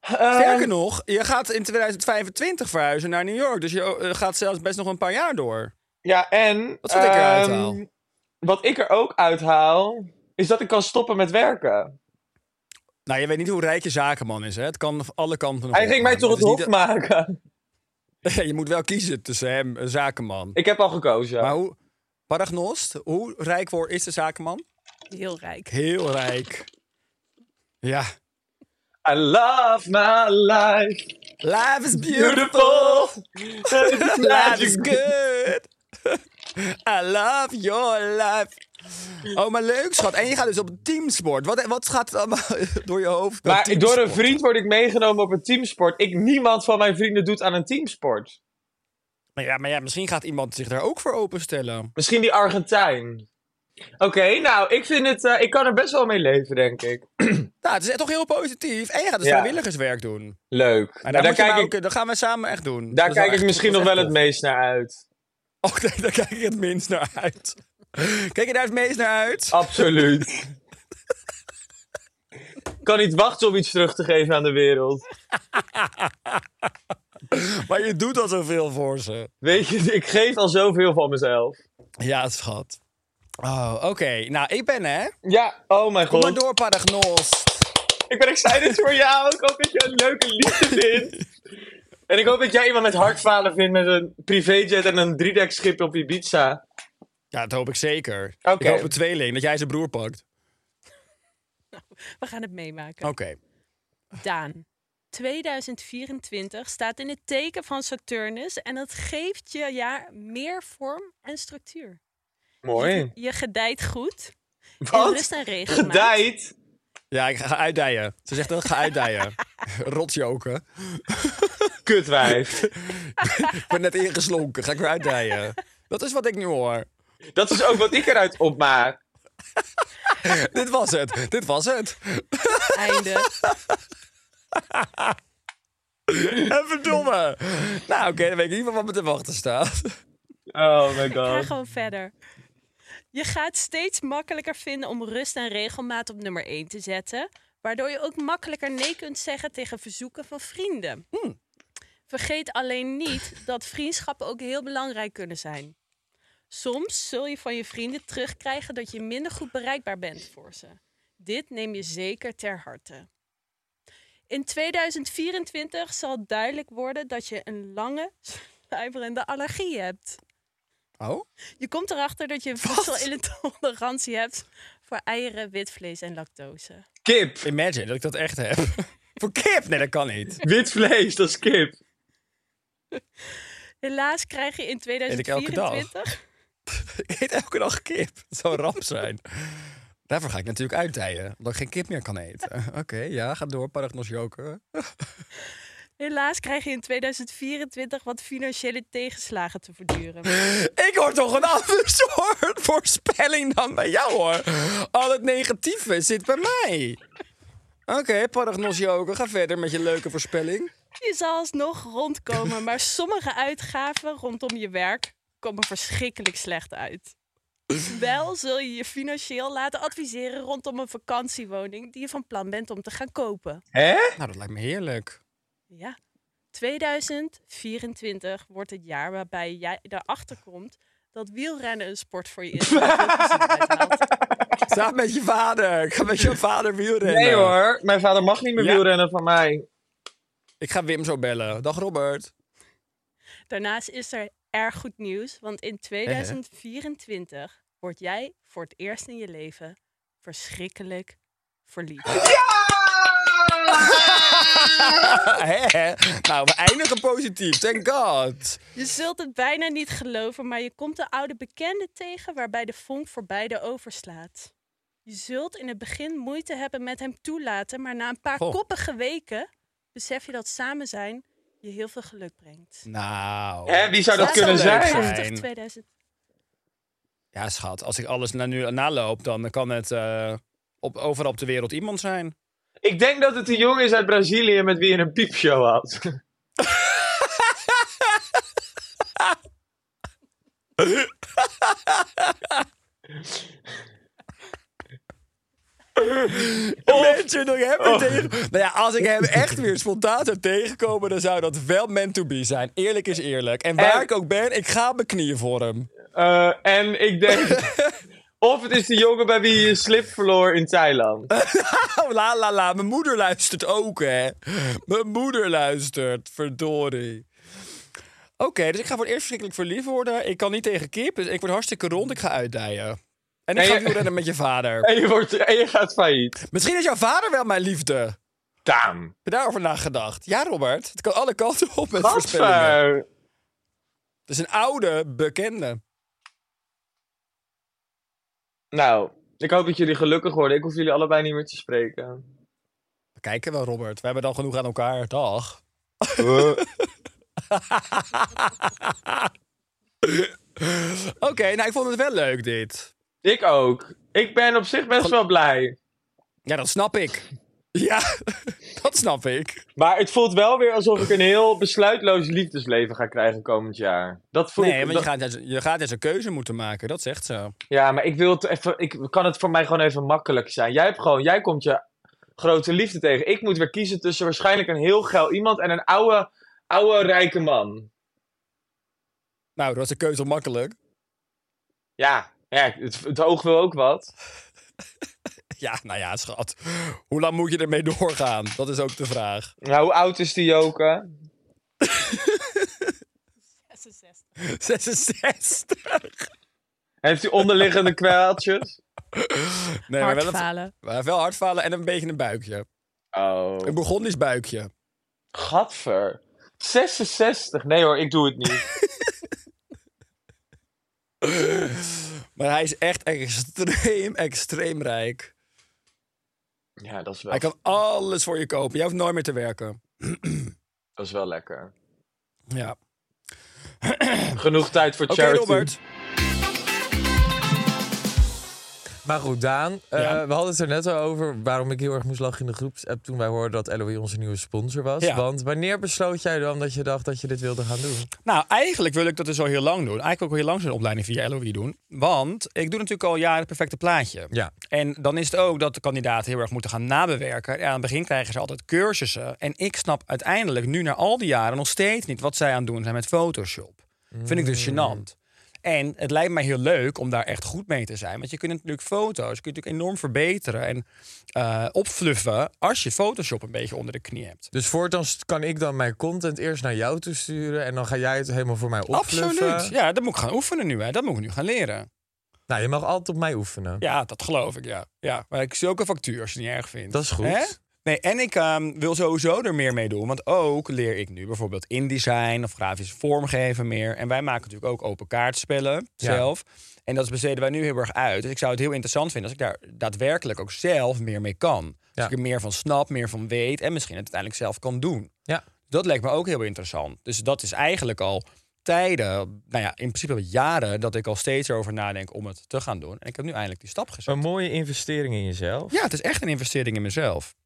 S2: Eh,
S3: Sterker nog, je gaat in 2025 verhuizen naar New York. Dus je eh, gaat zelfs best nog een paar jaar door.
S2: ja, en...
S3: Wat vind ik eruit
S2: ehm,
S3: haal?
S2: Wat ik er ook uithaal, is dat ik kan stoppen met werken.
S3: Nou, je weet niet hoe rijk je zakenman is, hè? Het kan alle kanten nog
S2: Hij ging mij
S3: opgaan.
S2: toch het
S3: is niet
S2: hof maken.
S3: dat- Je moet wel kiezen tussen hem, een zakenman.
S2: Ik heb al gekozen.
S3: Maar hoe... Paragnost, hoe rijk wordt is de zakenman?
S5: Heel rijk.
S3: Heel rijk. Ja.
S2: I love my life.
S3: Life is beautiful.
S2: Beautiful. Laat
S3: Life
S2: je
S3: is good. I love your life. Oh, maar leuk, schat. En je gaat dus op een teamsport. Wat, wat gaat er allemaal door je hoofd? bij
S2: Maar door een
S3: teamsport?
S2: vriend word ik meegenomen op een teamsport. Ik, niemand van mijn vrienden doet aan een teamsport.
S3: Maar ja, maar ja, misschien gaat iemand zich daar ook voor openstellen.
S2: Misschien die Argentijn. Oké, nou, ik vind het... eh, ik kan er best wel mee leven, denk ik.
S3: Nou, het is toch heel positief. En je gaat dus
S2: Ja.
S3: vrijwilligerswerk doen.
S2: Leuk.
S3: En daar
S2: Nou, daar
S3: moet je
S2: kijk
S3: maar
S2: ik,
S3: ook- dat gaan we samen echt doen.
S2: daar
S3: Dat
S2: kijk
S3: zou
S2: ik
S3: echt-
S2: misschien
S3: dat
S2: nog
S3: is
S2: wel
S3: echt
S2: het
S3: tof.
S2: meest naar uit.
S3: Oh, kijk, daar kijk ik het minst naar uit. Kijk je daar het meest naar uit?
S2: Absoluut. Ik kan niet wachten om iets terug te geven aan de wereld.
S3: Maar je doet al zoveel voor ze.
S2: Weet je, ik geef al zoveel van mezelf.
S3: Ja, schat. Oh, oké. Nou, ik ben hè.
S2: Ja, oh mijn
S3: Kom maar
S2: god.
S3: door, Paragnos.
S2: Ik ben excited voor jou. Ik hoop dat je een leuke liefde vindt. En ik hoop dat jij iemand met hartfalen vindt met een privéjet en een driedekschip op Ibiza.
S3: Ja, dat hoop ik zeker.
S2: Oké.
S3: Ik hoop een tweeling, dat jij zijn broer pakt.
S5: We gaan het meemaken.
S3: Oké.
S2: Oh.
S5: Daan. 2024 staat in het teken van Saturnus en dat geeft je jaar meer vorm en structuur. Je,
S2: Mooi.
S5: je gedijt goed. In rust
S2: Wat?
S5: en regelmaat.
S2: Gedijd?
S3: Ja, ik ga uitdijen. Ze zegt dat ik ga uitdijen. Rotjoken.
S2: Kutwijf.
S3: Ik ben net ingeslonken. Ga ik weer uitdijen. Dat is wat ik nu hoor.
S2: Dat is ook wat ik eruit opmaak.
S3: Dit was het. Dit was het.
S5: Einde.
S3: En verdomme. Nou, oké, dan weet ik niet meer wat me te wachten staat.
S2: Oh my
S5: Ga
S2: god.
S5: gewoon verder. Je gaat steeds makkelijker vinden om rust en regelmaat op nummer 1 te zetten. Waardoor je ook makkelijker nee kunt zeggen tegen verzoeken van vrienden. Vergeet alleen niet dat vriendschappen ook heel belangrijk kunnen zijn. Soms zul je van je vrienden terugkrijgen dat je minder goed bereikbaar bent voor ze. Dit neem je zeker ter harte. In 2024 zal duidelijk worden dat je een lange, sluimerende allergie hebt.
S3: Oh?
S5: Je komt erachter dat je een voedselintolerantie hebt voor eieren, wit vlees en lactose.
S2: Kip.
S3: Imagine dat ik dat echt heb. Voor kip? Nee, dat kan niet.
S2: Wit vlees, dat is kip.
S5: Helaas krijg je in
S3: ik elke dag?
S5: 2024
S3: Ik eet elke dag kip. Dat zou een ramp zijn. Daarvoor ga ik natuurlijk uitdijen. Omdat ik geen kip meer kan eten. Oké, ja, ga door. Paragnos joker.
S5: helaas krijg je in 2024 wat financiële tegenslagen te verduren.
S3: Ik hoor toch een ander soort voorspelling dan bij jou hoor. Al het negatieve zit bij mij. Oké, Paragnos joker. Ga verder met je leuke voorspelling.
S5: Je zal alsnog rondkomen, maar sommige uitgaven rondom je werk komen verschrikkelijk slecht uit. Wel zul je je financieel laten adviseren rondom een vakantiewoning die je van plan bent om te gaan kopen.
S2: Hè?
S3: Nou, dat lijkt me heerlijk.
S5: Ja. 2024 wordt het jaar waarbij jij erachter komt dat wielrennen een sport voor je is. waar je veel plezier uit haalt.
S3: Samen met je vader. Ik ga met je vader wielrennen.
S2: Nee hoor, mijn vader mag niet meer
S3: Ja.
S2: wielrennen van mij.
S3: Ik ga Wim zo bellen. Dag Robert.
S5: Daarnaast is er erg goed nieuws, want in 2024 word jij voor het eerst in je leven verschrikkelijk verliefd.
S3: Hè? nou, we eindigen positief. Thank God.
S5: Je zult het bijna niet geloven, maar je komt de oude bekende tegen waarbij de vonk voor beide overslaat. Je zult in het begin moeite hebben met hem toelaten, maar na een paar
S3: Goh.
S5: koppige weken besef je dat samen zijn je heel veel geluk brengt.
S3: Nou.
S2: Hè, wie zou dat
S3: zou
S2: kunnen
S3: leuk
S2: zijn?
S3: zijn.
S5: 2000.
S3: Ja, schat. Als ik alles na nu naloop, dan kan het eh, op, overal op de wereld iemand zijn.
S2: Ik denk dat het die jongen is uit Brazilië met wie je een piepshow had. Oh.
S3: Imagine dat ik hem weer tegen... Nou ja, als ik hem echt weer spontaan zou tegenkomen, dan zou dat wel meant to be zijn. Eerlijk is eerlijk. En waar
S2: En-
S3: ik ook ben, ik ga op mijn knieën voor hem.
S2: Eh, en ik denk. of het is die jongen bij wie je slip verloor in Thailand.
S3: Oh, la la la. Mijn moeder luistert ook, hè. Mijn moeder luistert. Verdorie. Oké, dus ik ga voor het eerst verschrikkelijk verliefd worden. Ik kan niet tegen kip, dus ik word hartstikke rond. Ik ga uitdijen. En ik
S2: En
S3: ga
S2: je-
S3: wielrennen met je vader.
S2: En je, wordt, en je gaat failliet.
S3: Misschien is jouw vader wel mijn liefde. Heb
S2: Taam.
S3: je daarover nagedacht? Ja, Robert. Het kan alle kanten op met voorspellingen.
S2: Gadver.
S3: Het is een oude, bekende.
S2: Nou, ik hoop dat jullie gelukkig worden. Ik hoef jullie allebei niet meer te spreken.
S3: We kijken wel, Robert. We hebben dan genoeg aan elkaar. Dag.
S2: Eh,
S3: Oké, nou ik vond het wel leuk dit.
S2: Ik ook. Ik ben op zich best wel blij.
S3: Ja, dat snap ik. Ja, dat snap ik.
S2: Maar het voelt wel weer alsof ik een heel besluitloos liefdesleven ga krijgen komend jaar. Dat voel
S3: Nee,
S2: ik.
S3: want
S2: dat-
S3: je gaat, juist- je gaat eens een keuze moeten maken, dat zegt ze.
S2: Ja, maar ik wil het even. Ik kan het voor mij gewoon even makkelijk zijn. Jij hebt gewoon, jij komt je grote liefde tegen. Ik moet weer kiezen tussen waarschijnlijk een heel geil iemand en een oude, oude rijke man.
S3: Nou, dat was de keuze makkelijk.
S2: Ja, ja het, het oog wil ook wat.
S3: Ja, nou ja, schat. Hoe lang moet je ermee doorgaan? Dat is ook de vraag.
S2: Nou, hoe oud is die joker?
S5: 66.
S3: 66.
S2: Heeft hij onderliggende kwaaltjes?
S3: Nee, maar wel, een,
S5: Hartfalen.
S3: maar wel hartfalen en een beetje een buikje.
S2: Oh.
S3: Een Bourgondisch buikje.
S2: Gadver. 66. Nee hoor, ik doe het niet.
S3: Maar hij is echt extreem, extreem rijk.
S2: Ja, dat is wel,
S3: Hij kan alles voor je kopen. Je hoeft nooit meer te werken.
S2: dat is wel lekker.
S3: Ja. Oké,
S2: Genoeg tijd voor charity.
S3: Robert.
S6: Maar goed, Daan, eh,
S3: Ja.
S6: we hadden het er net al over waarom ik heel erg moest lachen in de groepsapp toen wij hoorden dat LOE onze nieuwe sponsor was.
S3: Ja.
S6: Want wanneer besloot jij dan dat je dacht dat je dit wilde gaan doen?
S3: Nou, eigenlijk wil ik dat dus al heel lang doen. Eigenlijk wil ik al heel lang zo'n opleiding via LOE doen. Want ik doe natuurlijk al jaren het perfecte plaatje.
S6: Ja.
S3: En dan is het ook dat de kandidaten heel erg moeten gaan nabewerken. En aan het begin krijgen ze altijd cursussen. En ik snap uiteindelijk nu na al die jaren nog steeds niet wat zij aan het doen zijn met Photoshop. Vind ik
S6: Mm.
S3: dus gênant. En het lijkt mij heel leuk om daar echt goed mee te zijn. Want je kunt natuurlijk foto's kun je natuurlijk enorm verbeteren en eh, opfluffen als je Photoshop een beetje onder de knie hebt.
S6: Dus voortaan st- kan ik dan mijn content eerst naar jou toe sturen en dan ga jij het helemaal voor mij opfluffen.
S3: Absoluut. Ja, dat moet ik gaan oefenen nu. Hè. Dat moet ik nu gaan leren.
S6: Nou, je mag altijd op mij oefenen.
S3: Ja, dat geloof ik, ja. ja. Maar ik zie ook een factuur als je het niet erg vindt.
S6: Dat is goed.
S3: Hè? Nee, en ik ehm, wil sowieso er meer mee doen. Want ook leer ik nu bijvoorbeeld InDesign of grafisch vormgeven meer. En wij maken natuurlijk ook open kaartspellen
S6: Ja.
S3: zelf. En dat besteden wij nu heel erg uit. Dus ik zou het heel interessant vinden als ik daar daadwerkelijk ook zelf meer mee kan. Als
S6: Ja.
S3: ik er meer van snap, meer van weet en misschien het uiteindelijk zelf kan doen.
S6: Ja.
S3: Dat leek me ook heel interessant. Dus dat is eigenlijk al tijden, nou ja, in principe al jaren dat ik al steeds erover nadenk om het te gaan doen. En ik heb nu eindelijk die stap gezet.
S6: Een mooie investering in jezelf.
S3: Ja, het is echt een investering in mezelf.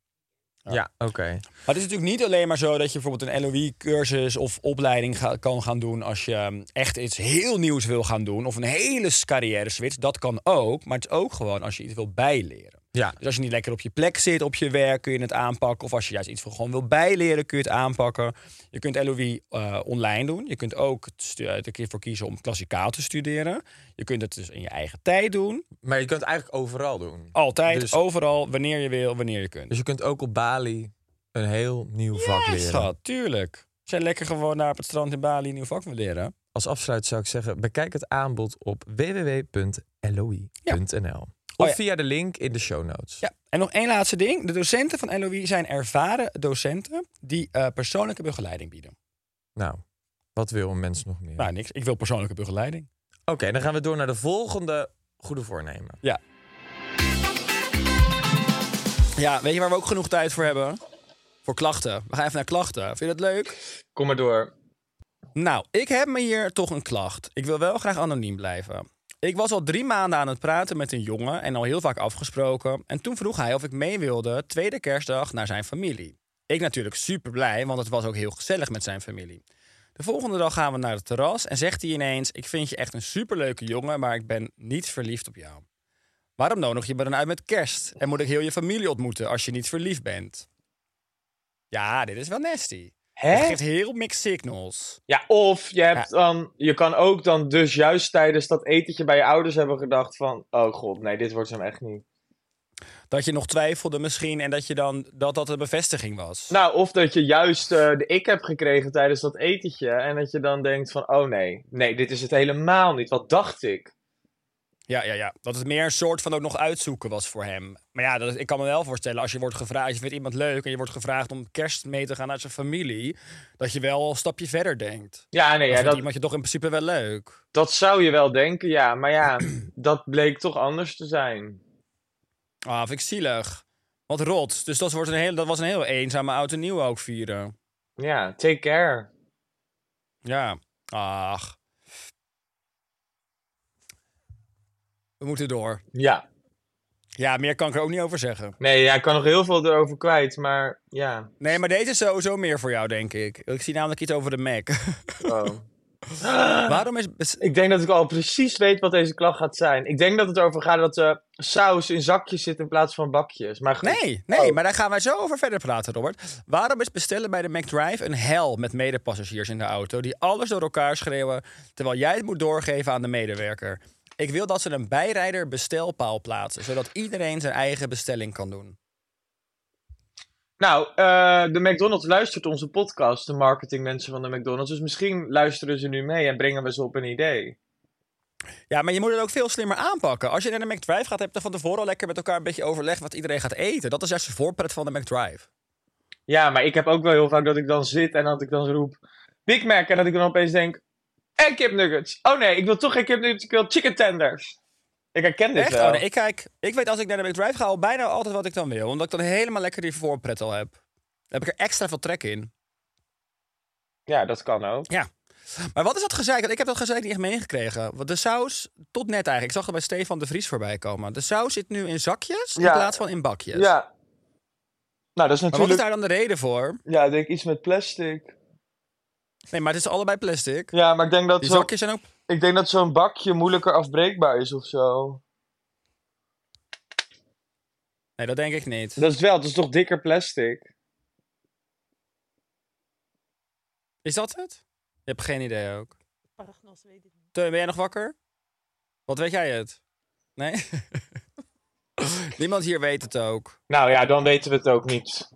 S6: Ja, oké.
S3: Maar het is natuurlijk niet alleen maar zo dat je bijvoorbeeld een LOE-cursus of opleiding ga- kan gaan doen als je ehm, echt iets heel nieuws wil gaan doen. Of een hele carrière switch. Dat kan ook. Maar het is ook gewoon als je iets wil bijleren.
S6: Ja.
S3: Dus als je niet lekker op je plek zit op je werk, kun je het aanpakken. Of als je juist iets van gewoon wil bijleren, kun je het aanpakken. Je kunt LOE eh, online doen. Je kunt ook het stu- er keer voor kiezen om klassikaal te studeren. Je kunt het dus in je eigen tijd doen.
S6: Maar je kunt het eigenlijk overal doen.
S3: Altijd,
S6: Dus-
S3: overal, wanneer je wil, wanneer je kunt.
S6: Dus je kunt ook op Bali een heel nieuw vak
S3: Ja,
S6: leren.
S3: schat, tuurlijk. Als jij lekker gewoon daar op het strand in Bali een nieuw vak wil leren.
S6: Als afsluit zou ik zeggen, bekijk het aanbod op www.loi.nl. Of
S3: ja.
S6: via de link in de show notes.
S3: Ja. En nog één laatste ding. De docenten van LOE zijn ervaren docenten die eh, persoonlijke begeleiding bieden.
S6: Nou, wat wil een mens nog meer?
S3: Nou, niks. Ik wil persoonlijke begeleiding.
S6: Oké, dan gaan we door naar de volgende goede voornemen.
S3: Ja. Ja, weet je waar we ook genoeg tijd voor hebben? Voor klachten. We gaan even naar klachten. Vind je dat leuk?
S2: Kom maar door.
S3: Nou, ik heb me hier toch een klacht. Ik wil wel graag anoniem blijven. Ik was al drie maanden aan het praten met een jongen en al heel vaak afgesproken. En toen vroeg hij of ik mee wilde tweede kerstdag naar zijn familie. Ik natuurlijk super blij, want het was ook heel gezellig met zijn familie. De volgende dag gaan we naar het terras en zegt hij ineens: Ik vind je echt een superleuke jongen, maar ik ben niet verliefd op jou. Waarom nodig je me dan uit met kerst? En moet ik heel je familie ontmoeten als je niet verliefd bent? Ja, dit is wel nasty.
S2: Hè?
S3: Het geeft heel mixed signals.
S2: Ja, of je, hebt
S3: Ja.
S2: dan, je kan ook dan dus juist tijdens dat etentje bij je ouders hebben gedacht van... Oh god, nee, dit wordt hem echt niet.
S3: Dat je nog twijfelde misschien en dat je dan, dat, dat een bevestiging was.
S2: Nou, of dat je juist eh, de ik heb gekregen tijdens dat etentje. En dat je dan denkt van, oh nee, nee, dit is het helemaal niet. Wat dacht ik?
S3: Ja, ja, ja. Dat het meer een soort van ook nog uitzoeken was voor hem. Maar ja, dat, ik kan me wel voorstellen, als je wordt gevraagd, je vindt iemand leuk en je wordt gevraagd om kerst mee te gaan naar zijn familie, dat je wel een stapje verder denkt.
S2: Ja, nee,
S3: Ja,
S2: ja,
S3: dat...
S2: dat,
S3: iemand je toch in principe wel leuk.
S2: dat zou je wel denken, ja. Maar ja, dat bleek toch anders te zijn.
S3: Ah, vind ik zielig. Wat rot. Dus dat, wordt een hele, dat was een heel eenzame oud en nieuw ook vieren.
S2: Ja, take care.
S3: Ja, ach. We moeten door.
S2: Ja.
S3: Ja, meer kan ik er ook niet over zeggen.
S2: Nee, ja, ik kan nog heel veel erover kwijt, maar ja.
S3: Nee, maar deze is sowieso meer voor jou, denk ik. Ik zie namelijk iets over de Mac.
S2: Oh.
S3: Waarom is... is-
S2: Ik denk dat ik al precies weet wat deze klacht gaat zijn. Ik denk dat het over gaat dat de saus in zakjes zit in plaats van bakjes. Maar goed.
S3: Nee, nee,
S2: Oh.
S3: maar daar gaan wij zo over verder praten, Robert. Waarom is bestellen bij de McDrive een hel met medepassagiers in de auto... die alles door elkaar schreeuwen, terwijl jij het moet doorgeven aan de medewerker? Ik wil dat ze een bijrijder bestelpaal plaatsen... zodat iedereen zijn eigen bestelling kan doen.
S2: Nou, eh, de McDonald's luistert onze podcast, de marketingmensen van de McDonald's. Dus misschien luisteren ze nu mee en brengen we ze op een idee.
S3: Ja, maar je moet het ook veel slimmer aanpakken. Als je naar de McDrive gaat, heb je van tevoren al lekker met elkaar een beetje overleg... wat iedereen gaat eten. Dat is juist de voorpret van de McDrive.
S2: Ja, maar ik heb ook wel heel vaak dat ik dan zit en dat ik dan roep Big Mac. En dat ik dan opeens denk, en kipnuggets. Oh nee, ik wil toch geen kipnuggets, ik wil chicken tenders. Ik herken dit
S3: Echt?
S2: wel.
S3: Oh, nee, ik, kijk, ik weet als ik naar de McDrive ga al bijna altijd wat ik dan wil. Omdat ik dan helemaal lekker die voorpret al heb. Dan heb ik er extra veel trek in.
S2: Ja, dat kan ook.
S3: Ja. Maar wat is dat gezeik? Want ik heb dat gezeik niet echt meegekregen. Want de saus, tot net eigenlijk. Ik zag het bij Stefan de Vries voorbij komen. De saus zit nu in zakjes in
S2: Ja.
S3: plaats van in bakjes.
S2: Ja. Nou, dat is
S3: Maar wat is
S2: natuurlijk...
S3: daar dan de reden voor?
S2: Ja, ik denk iets met plastic.
S3: Nee, maar het is allebei plastic.
S2: Ja, maar ik denk dat,
S3: Die
S2: zo,
S3: zakjes zijn ook...
S2: ik denk dat zo'n bakje moeilijker afbreekbaar is of zo.
S3: Nee, dat denk ik niet.
S2: Dat is het wel, het is toch dikker plastic?
S3: Is dat het? Je hebt geen idee ook.
S5: Paragnos weet ik niet.
S3: Teun, ben jij nog wakker? Wat weet jij het? Nee? Niemand hier weet het ook.
S2: Nou ja, dan weten we het ook niet.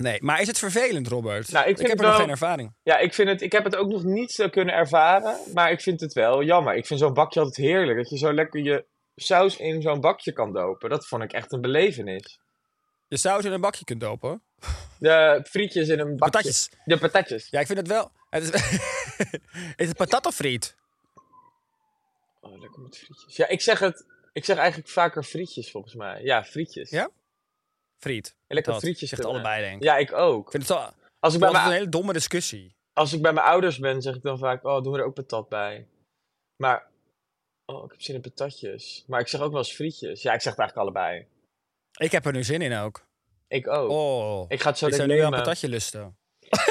S3: Nee, maar is het vervelend, Robert?
S2: Nou, ik vind
S3: heb
S2: het
S3: er nog
S2: wel-
S3: geen ervaring.
S2: Ja, ik, vind het, ik heb het ook nog niet eh, kunnen ervaren, maar ik vind het wel jammer. Ik vind zo'n bakje altijd heerlijk, dat je zo lekker je saus in zo'n bakje kan dopen. Dat vond ik echt een belevenis.
S3: Je saus in een bakje kunt dopen.
S2: De frietjes in een bakje.
S3: Patatjes.
S2: De patatjes.
S3: Ja, ik vind het wel. Het is, is het patat of friet?
S2: Oh, lekker met frietjes. Ja, ik zeg het... Ik zeg eigenlijk vaker frietjes, volgens mij. Ja, frietjes.
S3: Ja? Friet.
S2: Lekker
S3: Dat
S2: frietjes
S3: Zegt
S2: erbij.
S3: allebei, denk ik.
S2: Ja, ik ook.
S3: Ik vind het wel
S2: Als ik, bij
S3: altijd een
S2: mijn,
S3: hele domme discussie.
S2: als ik bij mijn ouders ben, zeg ik dan vaak, oh, doen we er ook patat bij. Maar, oh, ik heb zin in patatjes. Maar ik zeg ook wel eens frietjes. Ja, ik zeg het eigenlijk allebei.
S3: Ik heb er nu zin in ook.
S2: Ik ook.
S3: Oh.
S2: ik ga het zo
S3: ik zou
S2: direct
S3: nu wel een
S2: nemen.
S3: patatje lusten.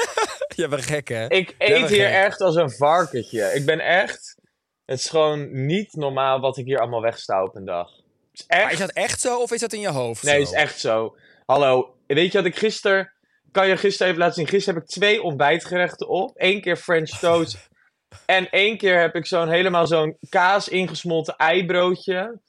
S3: Je bent gek, hè?
S2: Ik
S3: Ja,
S2: eet
S3: maar
S2: hier
S3: gek.
S2: echt als een varkentje. Ik ben echt, het is gewoon niet normaal wat ik hier allemaal wegsta op een dag. Het is
S3: Maar
S2: echt,
S3: is dat echt zo of is dat in je hoofd?
S2: nee,
S3: zo?
S2: het is echt zo. Hallo, weet je wat ik gisteren, kan je gisteren even laten zien. Gisteren heb ik twee ontbijtgerechten op. Eén keer French toast en één keer heb ik zo'n helemaal zo'n kaas ingesmolten eibroodje.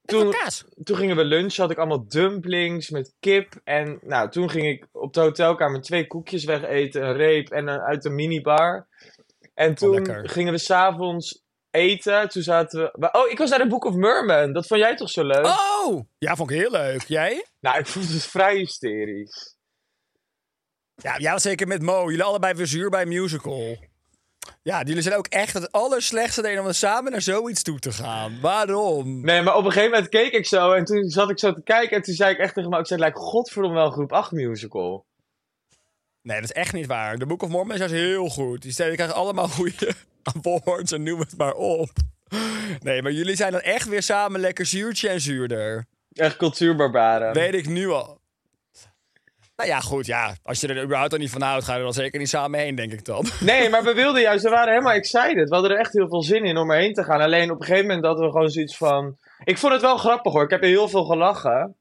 S3: Met wat
S2: Toen,
S3: kaas.
S2: toen gingen we lunchen, had ik allemaal dumplings met kip. En nou, toen ging ik op de hotelkamer twee koekjes wegeten, een reep en een, uit de minibar. En toen
S3: lekker.
S2: gingen we s'avonds eten. Toen zaten we... maar- Oh, ik was naar de Book of Merman. Dat vond jij toch zo leuk?
S3: Oh! Ja, vond ik heel leuk. Jij?
S2: Nou, ik vond het vrij hysterisch.
S3: Ja, jij was zeker met Mo. Jullie allebei weer zuur bij een musical. Ja, jullie zijn ook echt het allerslechtste deden om samen naar zoiets toe te gaan. Waarom?
S2: Nee, maar op een gegeven moment keek ik zo en toen zat ik zo te kijken en toen zei ik echt tegen me, ik zei, het lijkt godverdomme wel een groep 8 musical.
S3: Nee, dat is echt niet waar. De Book of Mormon is juist heel goed. Die steden krijgen allemaal goede awards en noem het maar op. Nee, maar jullie zijn dan echt weer samen lekker zuurtje en zuurder.
S2: Echt cultuurbarbaren.
S3: Weet ik nu al. Nou ja, goed, ja. Als je er überhaupt al niet van houdt, ga je er dan zeker niet samen heen, denk ik dan.
S2: Nee, maar we wilden juist, we waren helemaal excited. We hadden er echt heel veel zin in om erheen te gaan. Alleen op een gegeven moment hadden we gewoon zoiets van... Ik vond het wel grappig hoor, ik heb er heel veel gelachen.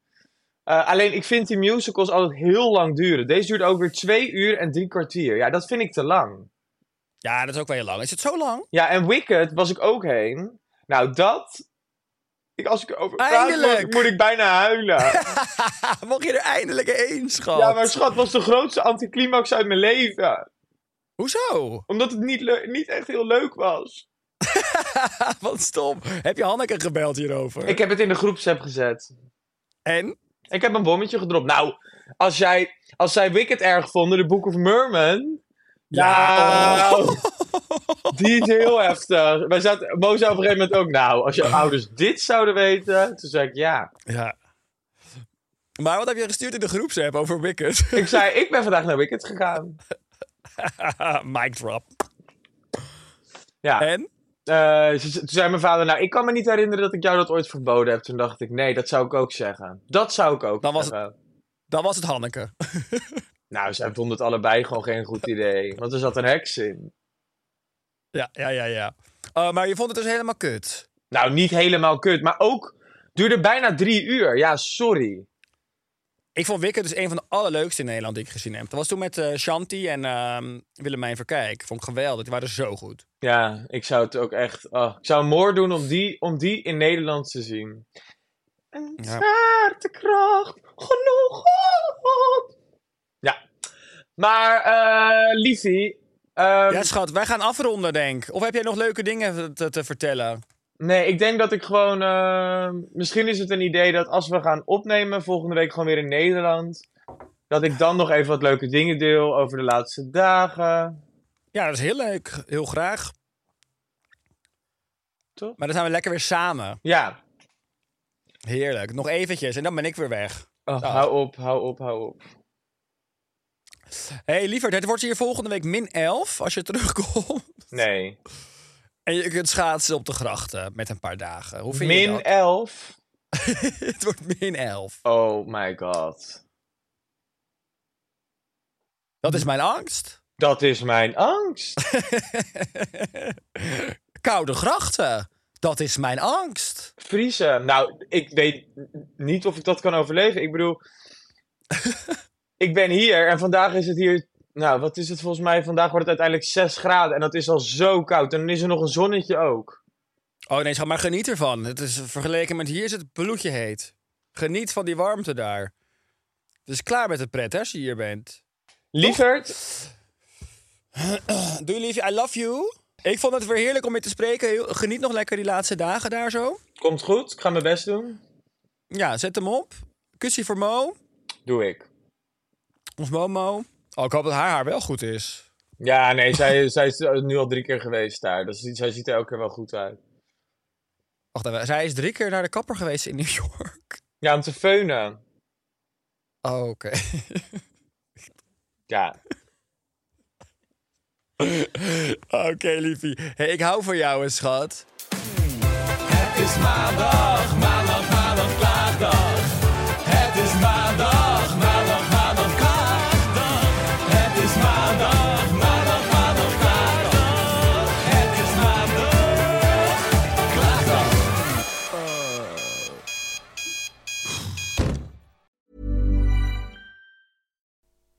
S2: Eh, alleen ik vind die musicals altijd heel lang duren. Deze duurt ook weer twee uur en drie kwartier. Ja, dat vind ik te lang.
S3: Ja, dat is ook wel heel lang. Is het zo lang?
S2: Ja, en Wicked was ik ook heen. Nou, dat... Ik, als ik erover praat,
S3: Eindelijk!
S2: moet- moet ik bijna huilen.
S3: Mocht je er eindelijk heen, schat.
S2: Ja, maar schat, was de grootste anticlimax uit mijn leven.
S3: Hoezo?
S2: Omdat het niet, leu- niet echt heel leuk was.
S3: Wat stom. Heb je Hanneke gebeld hierover?
S2: Ik heb het in de groepsapp gezet.
S3: En?
S2: Ik heb een bommetje gedropt. Nou, als, jij, als zij Wicked erg vonden, de Book of Merman.
S3: Ja,
S2: Nou, die is heel heftig. Wij zaten, Mo zei op een gegeven moment ook, nou, als je ouders dit zouden weten. Toen zei ik, ja.
S3: Ja. Maar wat heb je gestuurd in de groepsapp over Wicked?
S2: Ik zei, ik ben vandaag naar Wicked gegaan.
S3: Mic drop.
S2: Ja.
S3: En?
S2: Eh, ze- ze- toen zei mijn vader, nou, ik kan me niet herinneren dat ik jou dat ooit verboden heb. Toen dacht ik, nee, dat zou ik ook zeggen. Dat zou ik ook
S3: Dan was het-
S2: zeggen.
S3: Dan was het Hanneke.
S2: Nou, zij vond het allebei gewoon geen goed idee. Want er zat een heks in.
S3: Ja, ja, ja, ja. Eh, maar je vond het dus helemaal kut.
S2: Nou, niet helemaal kut, maar ook duurde bijna drie uur. Ja, sorry.
S3: Ik vond Wicked dus een van de allerleukste in Nederland die ik gezien heb. Dat was toen met eh, Shanti en ehm Willemijn Verkijk. Vond ik geweldig. Die waren zo goed.
S2: Ja, ik zou het ook echt. ah, ik zou een moord doen om die, om die in Nederland te zien. Een
S3: Ja.
S2: zwaartekracht, genoeg. God. Ja, maar eh Liefie. ehm,
S3: ja, schat, wij gaan afronden, denk ik. Of heb jij nog leuke dingen te, te vertellen?
S2: Nee, ik denk dat ik gewoon. ehm, misschien is het een idee dat als we gaan opnemen volgende week gewoon weer in Nederland. Dat ik dan nog even wat leuke dingen deel over de laatste dagen.
S3: Ja, dat is heel leuk. Heel graag.
S2: Toch?
S3: Maar dan zijn we lekker weer samen.
S2: Ja.
S3: Heerlijk. Nog eventjes en dan ben ik weer weg.
S2: Oh,
S3: Nou.
S2: Hou op, hou op, hou op.
S3: Hé, hey, lieverd, het wordt hier volgende week min 11 als je terugkomt.
S2: Nee.
S3: En je kunt schaatsen op de grachten met een paar dagen. Hoe vind je
S2: Min
S3: dat?
S2: 11.
S3: het wordt min 11.
S2: Oh my god.
S3: Dat is mijn angst.
S2: Dat is mijn angst.
S3: Koude grachten. Dat is mijn angst.
S2: Vriezen. Nou, ik weet niet of ik dat kan overleven. Ik bedoel, ik ben hier en vandaag is het hier. Nou, wat is het volgens mij? Vandaag wordt het uiteindelijk 6 graden en dat is al zo koud. En dan is er nog een zonnetje ook.
S3: Oh nee, schat, maar geniet ervan. Het is vergeleken met hier is het bloedje heet. Geniet van die warmte daar. Dus klaar met de pret, hè, als je hier bent.
S2: Lieverd,
S3: Doei, liefje. I love you. Ik vond het weer heerlijk om je te spreken. Heel- Geniet nog lekker die laatste dagen daar zo.
S2: komt goed. Ik ga mijn best doen.
S3: Ja, zet hem op. Kusje voor Mo.
S2: Doe ik.
S3: Ons Momo. Oh, ik hoop dat haar haar wel goed is.
S2: Ja, nee, zij, zij is nu al drie keer geweest daar. Dus zij ziet er elke keer wel goed uit.
S3: Wacht even, zij is drie keer naar de kapper geweest in New York.
S2: Ja, om te feunen.
S3: Oh, oké.
S2: Ja.
S3: oké, liefie. Hey, ik hou van jou, hè, schat.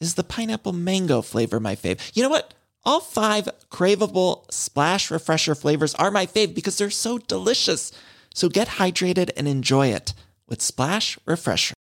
S7: Is the pineapple mango flavor my fave? You know what? All five craveable splash refresher flavors are my fave because they're so delicious. So get hydrated and enjoy it with Splash Refresher.